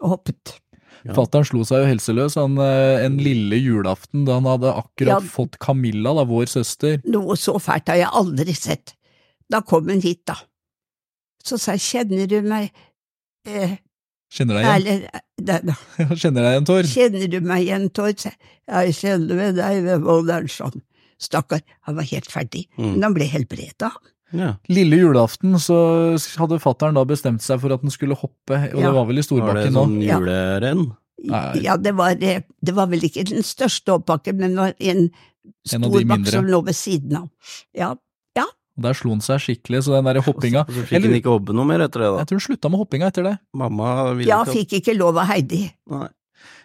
og hoppet. Ja. Fattern slo seg jo helseløs han, eh, en lille julaften da han hadde akkurat Ja. fått Camilla, da, vår søster. Noe så fælt har jeg aldri sett. Da kom hun hit, da. Så sa jeg, kjenner du meg eh, Kjenner deg igjen? Eller, da, da, <laughs> Kjenner deg igjen, Tord? kjenner du meg igjen, Tord? Sa jeg, Jeg kjenner med deg, Volderson. Stakkar, han var helt ferdig, Mm. men han ble helbreda. Ja. Lille julaften så hadde fattern da bestemt seg for at den skulle hoppe, og Ja. det var vel i Var det Storbakken nå. sånn Ja. julerenn? Nei. Ja, det var, eh, det var vel ikke den største hoppbakken, men det var en En av stor de bakke mindre. som lå ved siden av. Ja, Og Der slo han seg skikkelig, så den der hoppinga Og så Jeg fikk lurer- hun ikke hobbe noe mer etter det, Jeg da. tror hun slutta med hoppinga etter det. Mamma ville jeg ikke fikk ikke lov av Heidi. Nei.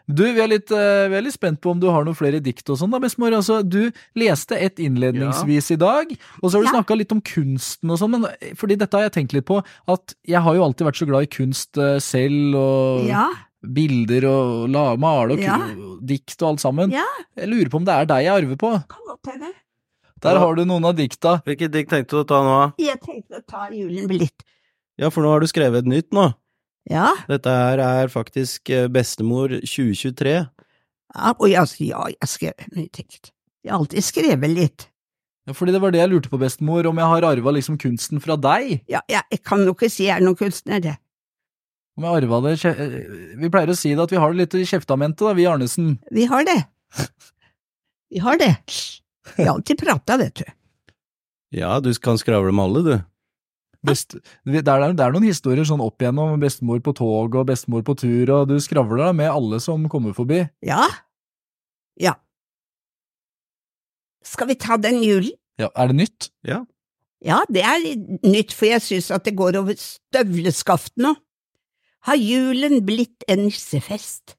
Du, vi er litt, eh, vi er litt spent på om du har noen flere dikt og sånn da, bestemor. Altså, du leste et innledningsvis i dag, og så har du Ja. snakka litt om kunsten og sånn, men fordi dette har jeg tenkt litt på, at jeg har jo alltid vært så glad i kunst eh, selv, og Ja, bilder og la, male og ku- Ja. og dikt og alt sammen. Ja. Jeg lurer på om det er deg jeg arver på. kan godt hende. Der Ja. har du noen av dikta. Hvilket dikt tenkte du å ta nå, da? Jeg tenkte å ta julen litt Ja, for nå har du skrevet et nytt nå. Ja, Dette her er faktisk eh, Bestemor 2023. ja og jeg, ja, jeg skrev mye tekst. Jeg har alltid skrevet litt. Ja, fordi det var det jeg lurte på, bestemor, om jeg har arva liksom kunsten fra deg? Ja, jeg, jeg kan jo ikke si jeg er noen kunstner, det. Om jeg arva det kje- eh, Vi pleier å si det at vi har det litt i kjeftamentet, da, vi i Arnesen. Vi har det. <laughs> Vi har det. Vi har alltid prata, vet du. Ja, du kan skravle med alle, du. Best, vi- det, er, det er noen historier sånn opp igjennom bestemor på tog og bestemor på tur, og du skravler da med alle som kommer forbi. Ja. Ja. Skal vi ta den julen? Ja, er det nytt? Ja, det er nytt, for jeg synes at det går over støvleskaft nå. Har julen blitt en nissefest?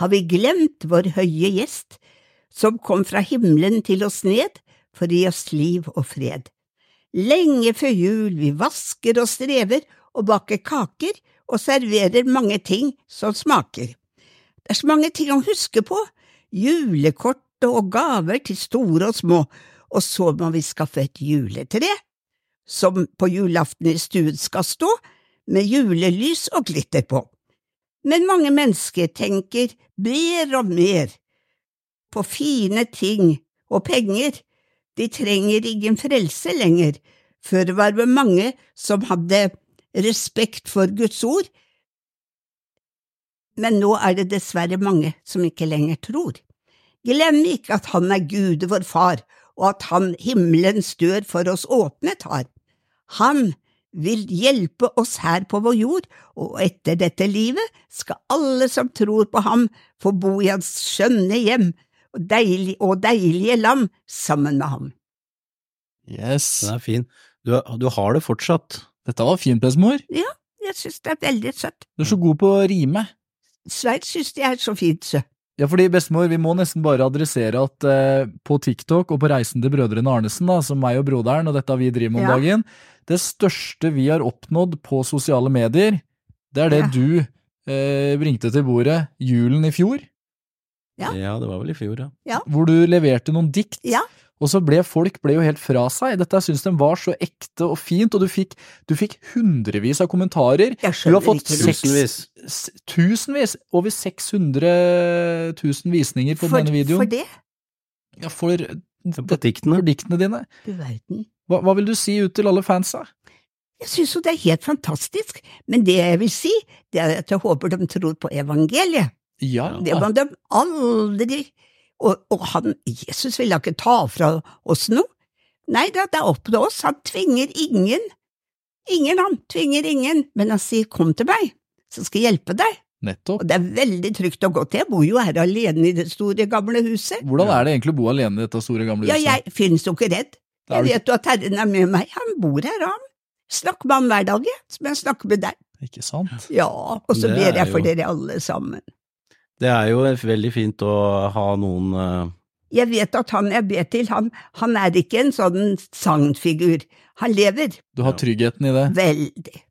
Har vi glemt vår høye gjest, som kom fra himmelen til oss ned for å gi oss liv og fred? Lenge før jul vi vasker og strever og baker kaker og serverer mange ting som smaker. Det er så mange ting å huske på, julekort og gaver til store og små, og så må vi skaffe et juletre, som på julaften i stuen skal stå, med julelys og glitter på. Men mange mennesker tenker mer og mer på fine ting og penger, de trenger ingen frelse lenger, før var det mange som hadde respekt for Guds ord, men nå er det dessverre mange som ikke lenger tror. Glem ikke at han er Gud, vår far, og at han himmelens dør for oss åpnet har. Han vil hjelpe oss her på vår jord, og etter dette livet skal alle som tror på ham, få bo i hans skjønne hjem og, deilig, og deilige lam sammen med ham. Yes. Den er fin. Du, er- du har det fortsatt. Dette var fint, bestemor. Jeg synes det er veldig søtt. Du er så god på å rime. Svein synes det er så fint, sø. Ja, fordi bestemor, vi må nesten bare adressere at eh, på TikTok og på Reisen til brødrene Arnesen, da, som meg og broderen, og dette vi driver med om Ja. dagen, det største vi har oppnådd på sosiale medier, det er det Ja. du eh, bringte til bordet julen i fjor. Ja. det var vel i fjor, ja. hvor du leverte noen dikt. Ja. Og så ble folk ble jo helt fra seg. Dette syns de var så ekte og fint, og du fikk, du fikk hundrevis av kommentarer. Jeg Du har skjønner fått ikke det. seks- Tusenvis. s- tusenvis, over 600 000 visninger på for, denne videoen. for det, ja, for, På diktene. for diktene dine. du verden. Hva, hva vil du si ut til alle fansa? Jeg synes jo det er helt fantastisk, men det jeg vil si, det er at jeg håper de tror på evangeliet. Ja, Det må de aldri og, og han, Jesus ville ikke ta fra oss noe. Nei da, det er opp til oss. Han tvinger ingen. Ingen, han tvinger ingen, men han sier kom til meg, så skal jeg hjelpe deg. nettopp. Og det er veldig trygt og godt. Jeg bor jo her alene i det store, gamle huset. Hvordan er det egentlig å bo alene i dette store, gamle Ja, huset? jeg sånn? finnes jo ikke redd. Da er Jeg du- vet jo at Herren er med meg. Han bor her, han. Snakker med han hver dag, jeg, som jeg snakker med deg. Ikke sant? Ja, og så Det ber er jeg for jo- dere alle sammen. Det er jo veldig fint å ha noen eh, Jeg vet at han jeg ber til, han, han er ikke en sånn sagnfigur. Han lever Du har Ja. tryggheten i det. veldig.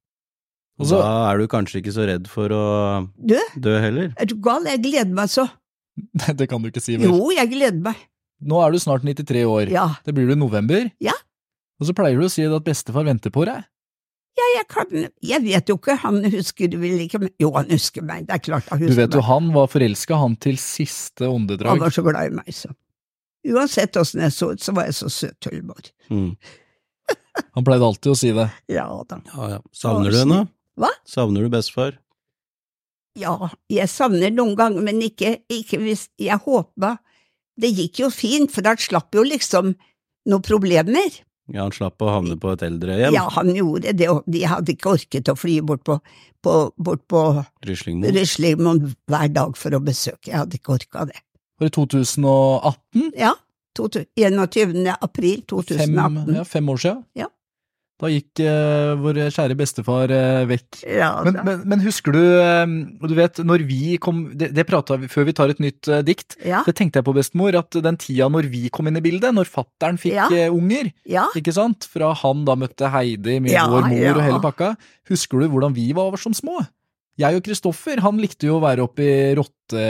Og så- Da er du kanskje ikke så redd for å Du, dø heller. er du gal? Jeg gleder meg så. Nei, det <laughs> kan du ikke si, vel. Jo, jeg gleder meg. Nå er du snart 93 år. Ja, Det blir du i november. Ja. Og så pleier du å si at bestefar venter på deg. jeg kan Jeg vet jo ikke, han husker vel ikke meg? Jo, han husker meg, det er klart han Du husker vet jo, meg. han var forelska han til siste Han åndedrag. var så glad i meg, så. Uansett åssen jeg så ut, så var jeg så søt, Tullborg. Mm. Han pleide alltid å si det. Ja da. Ja, ja. Savner du henne? Hva? Savner du bestefar? Ja, jeg savner noen ganger, men ikke, ikke hvis Jeg håpa Det gikk jo fint, for han slapp jo liksom noen problemer. Ja, han slapp å havne på et eldrehjem. Ja, han gjorde det, og de hadde ikke orket å fly bort på, på, bort på Ryslingmo. Ruslingmoen hver dag for å besøke. Jeg hadde ikke orka det. For i 2018, Ja, 2000 21. april fem, 2018. ja, fem år siden, Ja. da gikk eh, vår kjære bestefar eh, vekk. Ja, Men, da. men, men husker du eh, og Du vet, når vi kom Det, det prata vi før vi tar et nytt eh, dikt. ja, Det tenkte jeg på, bestemor, at den tida når vi kom inn i bildet, når fattern fikk Ja. eh, unger, ja, ikke sant? Fra han da møtte Heidi med Ja, vår mor ja. og hele pakka. Husker du hvordan vi var som små? Jeg og Kristoffer, han likte jo å være oppe i rotte...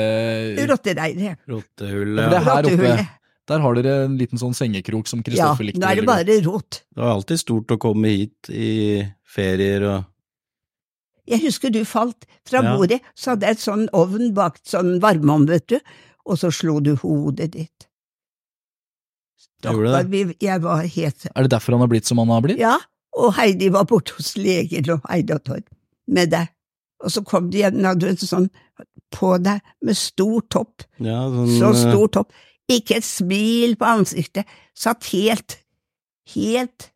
rottereiret. Ja, Rottehullet. men det er her oppe. Rottehullet. Der har dere en liten sånn sengekrok som Ja, Kristoffer likte. nå er det veldig godt. bare rot. Det var alltid stort å komme hit i ferier og Jeg husker du falt fra Ja. bordet, så hadde jeg et sånn ovn bakt sånn varmeovn, vet du, og så slo du hodet ditt. Gjorde det? Stakkar, vi- Jeg var helt Er det derfor han har blitt som han har blitt? Ja, og Heidi var borte hos legen og Heidi og Torp med deg. Og så kom de igjen, hadde en sånn på deg med stor topp, Ja, sånn, så eh, stor topp, ikke et smil på ansiktet, satt helt, helt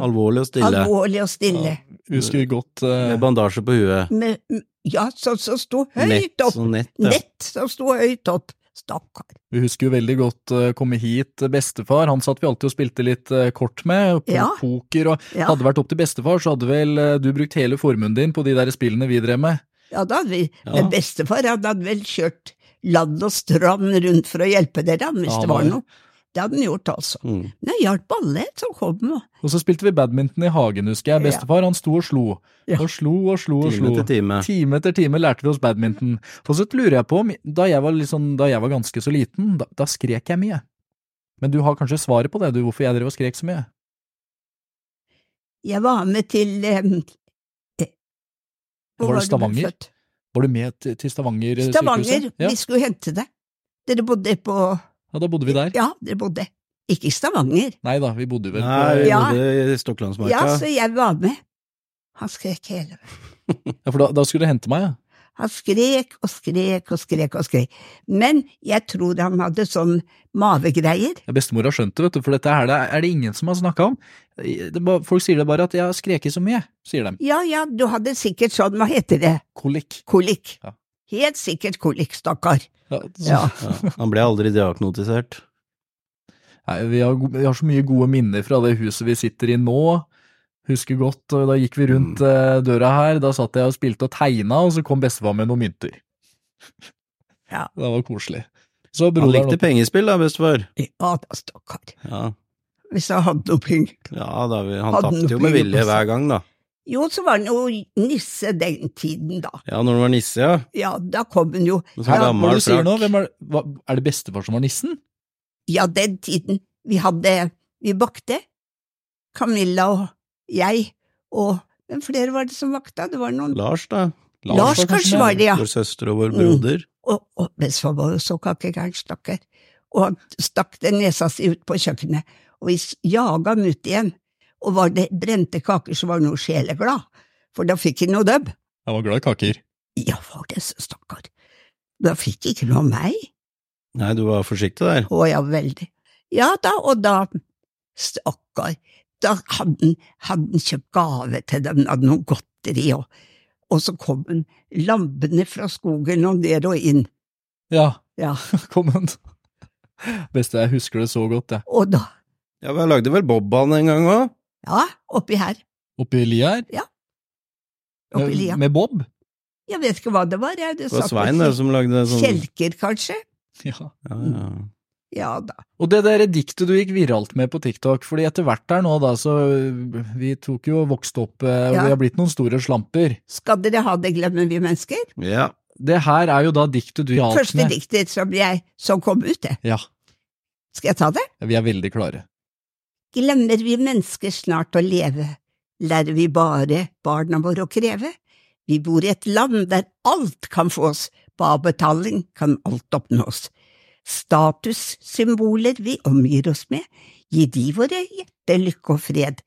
alvorlig og stille. alvorlig og stille. Husker godt eh, Med bandasje på huet. Med, ja, som som sto høyt Nett, opp, sånn nett. Ja. nett som sto høyt opp, stakkar. Vi husker jo veldig godt eh, komme hit, eh, bestefar. Han satt vi alltid og spilte litt eh, kort med, på Ja. poker og Ja, Hadde det vært opp til bestefar, så hadde vel eh, du brukt hele formuen din på de der spillene vi drev med. ja da hadde vi, Ja. men bestefar han hadde vel kjørt land og strand rundt for å hjelpe dere, han, hvis Ja, det var han var- noe. Det hadde han gjort, altså. Mm. Men jeg hjalp alle som kom. og- Og så spilte vi badminton i hagen, husker jeg. Bestefar han sto og slo. Ja. Og slo og slo og Time slo. etter time. Time etter time lærte vi oss badminton. Og så lurer jeg på, om- da jeg var, litt sånn- da jeg var ganske så liten, da, da skrek jeg mye. Men du har kanskje svaret på det, du, hvorfor jeg drev og skrek så mye? Jeg var med til eh, eh, hvor Var det du ble Stavanger? født? Var du med til, til Stavanger eh, Stavanger. sykehuset? Ja. Vi skulle hente deg. Dere bodde på ja, da bodde vi der. Ja, dere bodde Ikke i Stavanger. Nei da, vi bodde vel Nei, på vi Ja. bodde i Ja, Stokklandsmarka. så jeg var med. Han skrek hele veien. Ja, for da, da skulle du hente meg, ja. Han skrek og skrek og skrek og skrek. Men jeg tror han hadde sånn mavegreier. Ja, Bestemor har skjønt det, vet du, for dette her det er det ingen som har snakka om. Det, er bare- folk sier det bare at 'jeg har skreket så mye', sier de. Ja, ja, du hadde sikkert sånn, hva heter det, Kolikk. kolikk. Ja. Helt sikkert kolikk, stakkar. Ja, så- Ja. Ja. Han ble aldri diagnotisert. Nei, vi, har, go- vi har så mye gode minner fra det huset vi sitter i nå. Husker godt, og da gikk vi rundt eh, døra her, da satt jeg og spilte og tegna, og så kom bestefar med noen mynter. Ja. Det var koselig. Så Han broderen likte pengespill da, bestefar. Ja da, stakkar. Ja, Hvis jeg hadde noe penger. ja da, vi- han Hadde tapte jo nok med mye vilje på hver gang, da. Jo, så var han jo nisse den tiden, da. Ja, når han var nisse, ja. Ja, da kom han jo. Med sånn Hæ, Hva er gammel det du sier nå? frakk. Hvem er, det- hva, er det bestefar som var nissen? Ja, den tiden vi hadde Vi bakte. Camilla og jeg og Hvem flere var det som vakta? Det var noen Lars, da. Lars, kanskje var det, ja. Vår søster og vår Mm. broder. Og, og bestefar var jo så kakegæren, stakkar. Og han stakk den nesa si ut på kjøkkenet, og vi s- jaga han ut igjen. Og var det brente kaker, så var han jo sjeleglad, for da fikk han noe døbb. Jeg var glad i kaker. Ja, var det så, stakkar. Da fikk ikke noe av meg. Nei, du var forsiktig der. Å ja, veldig. Ja da, og da, stakkar, da hadde han- hadde han kjøpt gave til dem, hadde noe godteri, og, og så kom han lampene fra skogen og ned og inn, Ja, ja, <laughs> kom hun. Beste, jeg husker det så godt, jeg. og da, Ja, vi lagde vel Bob-banen en gang òg? ja, oppi her, Oppi lia her. oppi Med, lia. med Bob? Jeg vet ikke hva det var, jeg, det Det var satt på Svein det, som lagde sånn kjelker, kanskje? <laughs> Ja. Ja, ja. Ja da. Og det der diktet du gikk viralt med på TikTok, fordi etter hvert der nå da, så øh, vi tok jo og vokste opp, øh, og Ja. vi har blitt noen store slamper. Skal dere ha det, glemmer vi mennesker? ja. Det her er jo da diktet du hjalp Første med. diktet som jeg, som kom ut, det. Ja, Skal jeg ta det? vi er veldig klare. Glemmer vi mennesker snart å leve, lærer vi bare barna våre å kreve. Vi bor i et land der alt kan fås, på avbetaling kan alt oppnås. Statussymboler vi omgir oss med, gi de våre hjerter lykke og fred.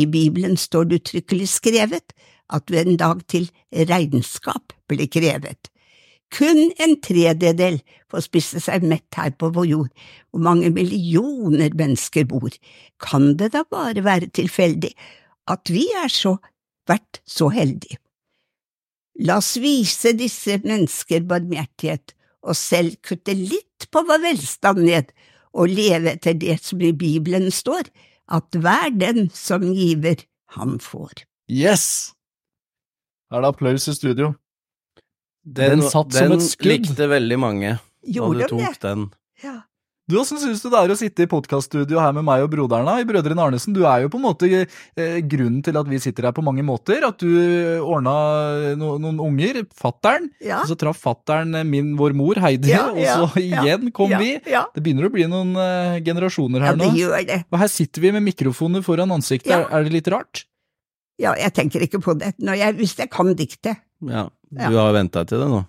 I Bibelen står det uttrykkelig skrevet at du en dag til regnskap blir krevet. Kun en tredjedel får spise seg mett her på vår jord, hvor mange millioner mennesker bor kan det da bare være tilfeldig at vi er så vært så heldige. La oss vise disse mennesker barmhjertighet, og selv kutte litt på vår velstand ned, og leve etter det som i Bibelen står, at hver den som giver, han får. Yes! Er det applaus i studio? Den, satt som den et skudd. likte veldig mange. Gjorde de da du tok det? den. Ja. Du, Åssen syns du det er å sitte i podkaststudio her med meg og broderen da, i Brødrene Arnesen? Du er jo på en måte eh, grunnen til at vi sitter her på mange måter. At du øh, ordna no, noen unger, fattern, Ja. og så traff fattern eh, min, vår mor, Heidi, Ja, ja, <laughs> og så ja, igjen kom ja, vi. Ja, Det begynner å bli noen eh, generasjoner ja her det nå. gjør det. Og her sitter vi med mikrofoner foran ansiktet, Ja. er, er det litt rart? Ja, jeg tenker ikke på det. Når jeg, hvis jeg kan diktet. Ja, Ja. du har venta til det nå.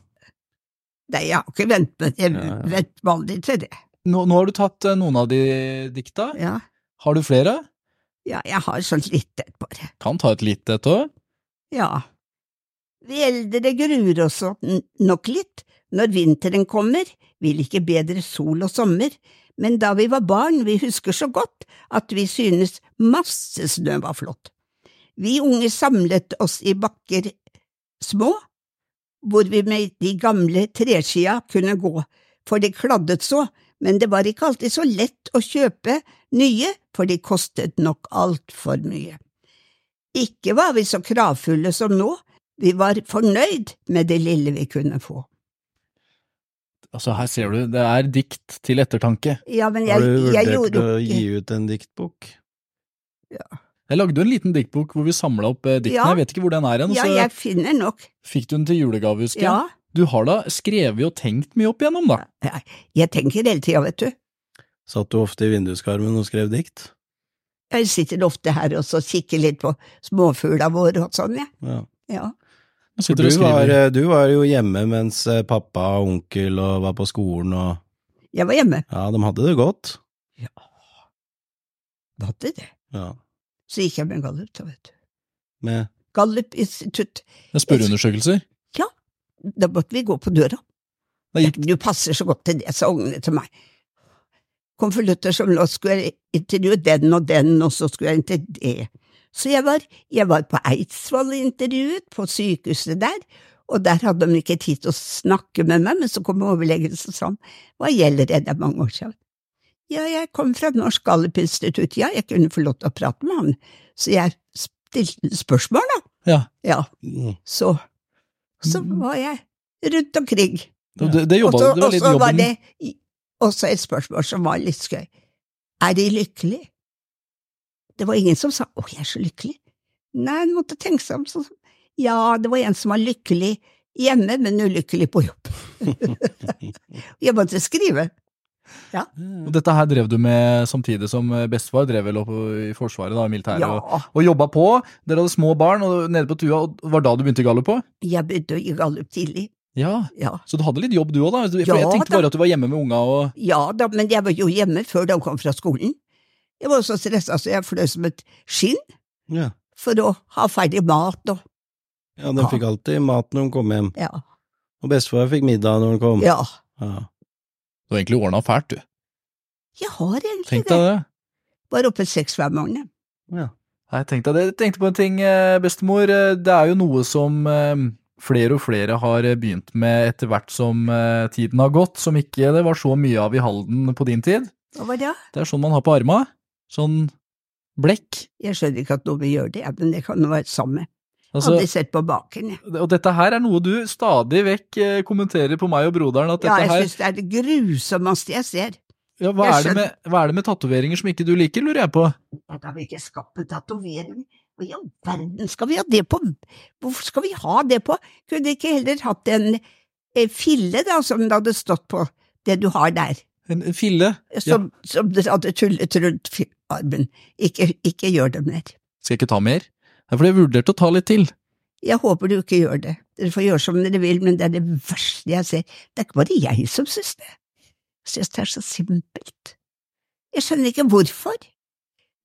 Nei, jeg har ikke vent, men jeg Ja, ja. vent vanlig til det. Nå, nå har du tatt eh, noen av de dikta. Ja. Har du flere? ja, jeg har sånn litt et bare. Kan ta et lite et òg. Ja. Vi eldre gruer oss opp n- nok litt. Når vinteren kommer, vil ikke bedre sol og sommer, men da vi var barn, vi husker så godt at vi synes masse snø var flott. Vi unge samlet oss i bakker små, hvor vi med de gamle treskia kunne gå, for de kladdet så, men det var ikke alltid så lett å kjøpe nye, for de kostet nok altfor mye. Ikke var vi så kravfulle som nå, vi var fornøyd med det lille vi kunne få. Altså, her ser du, det er dikt til ettertanke. Ja, men Har jeg, du jeg vurdert gjorde å ikke gi ut en diktbok? Jeg lagde jo en liten diktbok hvor vi samla opp eh, diktene, Ja. jeg vet ikke hvor den er hen, Ja, så jeg finner nok. fikk du den til julegave, husker jeg. Ja, Du har da skrevet og tenkt mye opp igjennom, da. jeg tenker hele tida, vet du. Satt du ofte i vinduskarmen og skrev dikt? Jeg sitter ofte her og så kikker litt på småfugla våre og sånn, jeg. Ja. Ja. Nå For sitter du du og var, eh, skriver. du var jo hjemme mens eh, pappa og onkel og var på skolen og Jeg var hjemme. Ja, de hadde det godt. Da hadde det. Ja. Så gikk jeg med Gallup, da, vet du. Med Gallup-institutt. Det er spørreundersøkelser. Da måtte vi gå på døra. Da gikk Du passer så godt til det, sa ungene til meg. Konvolutter som nå skulle jeg intervjue den og den, og så skulle jeg intervjue det. Så jeg var, jeg var på Eidsvoll intervjuet, på sykehuset der, og der hadde de ikke tid til å snakke med meg, men så kom overlegen og sa han, hva gjelder det, det er mange år siden. Ja, jeg kom fra Norsk Gallup-institutt, ja, jeg kunne få lov til å prate med han, så jeg stilte spørsmål, da. Ja. Ja, Mm. så, så Mm. var jeg rundt omkring. Det, det, det jobba Og så- det var og litt så var jobben. det i- også et spørsmål som var litt skøy. Er De lykkelige? Det var ingen som sa å, jeg er så lykkelig. Nei, en måtte tenke seg om. Så, ja, det var en som var lykkelig hjemme, men ulykkelig på <laughs> jobb. jeg måtte skrive. Og dette her drev du med samtidig som eh, bestefar drev vel opp i Forsvaret, da, i militæret, og Ja, og jobba på. Dere hadde små barn og nede på tua, og det var da du begynte i Gallup òg? jeg begynte å gi gallup tidlig. Ja. Ja. Så du hadde litt jobb du òg, da? For jeg Ja, tenkte da. bare at du var hjemme med unga og ja da, men jeg var jo hjemme før de kom fra skolen. Jeg var så stressa så jeg fløy som et skinn Ja. for å ha ferdig mat og ja, de fikk alltid mat når de kom hjem, ja. og bestefar fikk middag Mm. når de kom. ja. Ja. Du har egentlig ordna fælt, du. Jeg har egentlig Tenk det. deg det. Var oppe seks hver morgen. Nei, tenk deg det. Jeg tenkte på en ting, eh, bestemor. Eh, Det er jo noe som eh, flere og flere har eh, begynt med etter hvert som eh, tiden har gått, som ikke det var så mye av i Halden på din tid. Hva var det? Det er sånn man har på arma. Sånn blekk. Jeg skjønner ikke at noen gjør det, jeg, men det kan jo være sammen. Altså, Aldri sett på baken. jeg. og dette her er noe du stadig vekk eh, kommenterer på meg og broderen, at Ja, dette jeg her synes det er det grusommeste jeg ser. Ja, hva, Jeg er det med, hva er det med tatoveringer som ikke du liker, lurer jeg på? Da kan vi ikke skape tatovering. Hva i all verden skal vi ha det på? Hvorfor skal vi ha det på? Kunne ikke heller hatt en eh, fille da, som det hadde stått på, det du har der, En, en fille? som, som dere hadde tullet rundt fi- armen. Ikke, ikke gjør det mer. Skal jeg ikke ta mer? Det er fordi jeg vurderte å ta litt til. Jeg håper du ikke gjør det. Dere får gjøre som dere vil, men det er det verste jeg ser. Det er ikke bare jeg som synes det. Jeg synes det er så simpelt. Jeg skjønner ikke hvorfor.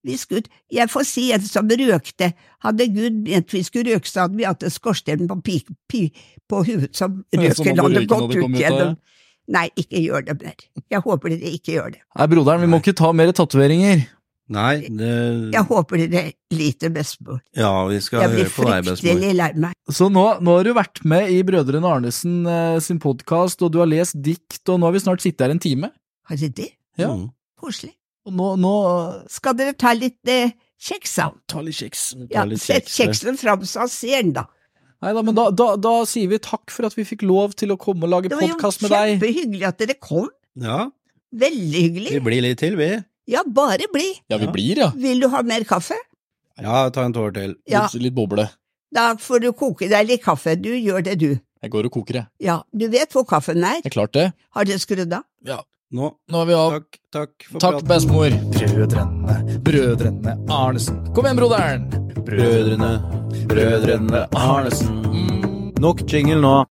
Hvis Gud, jeg får si en som røkte, hadde Gud ment vi skulle røke, så hadde vi hatt en skorsten på, pi, pi, på hodet som Som røken hadde røyken hadde gått hadde ut kommet ut av, gjennom. Nei, ikke gjør det mer. Jeg håper dere ikke gjør det. Nei, broderen, vi må ikke ta mer tatoveringer. Nei, det Jeg håper dere liter bestemor. Mm. Ja, vi skal Jeg høre blir på deg, bestemor. fryktelig lei meg. Så nå, nå har du vært med i Brødrene Arnesen eh, sin podkast, og du har lest dikt, og nå har vi snart sittet her en time. Har dere det? Ja. Mm. Koselig. Og nå, nå Skal dere ta litt eh, kjeks, da? Ta litt kjeks. Ja, litt sett kjeks, eh. det. kjeksen fram, så han ser den, da. Nei da, men da, da, da sier vi takk for at vi fikk lov til å komme og lage Det var jo podkast med deg. kjempehyggelig at dere kom. Ja, Veldig hyggelig. vi blir litt til, vi. Ja, bare bli. Ja, vi blir, ja. Vil du ha mer kaffe? Ja, ta en tår til. Ja, Litt, litt boble. da får du koke deg litt kaffe. Du gjør det, du. Jeg går og koker, jeg. Ja, du vet hvor kaffen er. Jeg klarte det. Har dere skrudd av? Nå. Nå er vi av. Takk, takk for Takk, bestemor. Brødrene, brødrene Arnesen. Kom igjen, broderen! Brødrene, brødrene Arnesen. Nok jingle nå.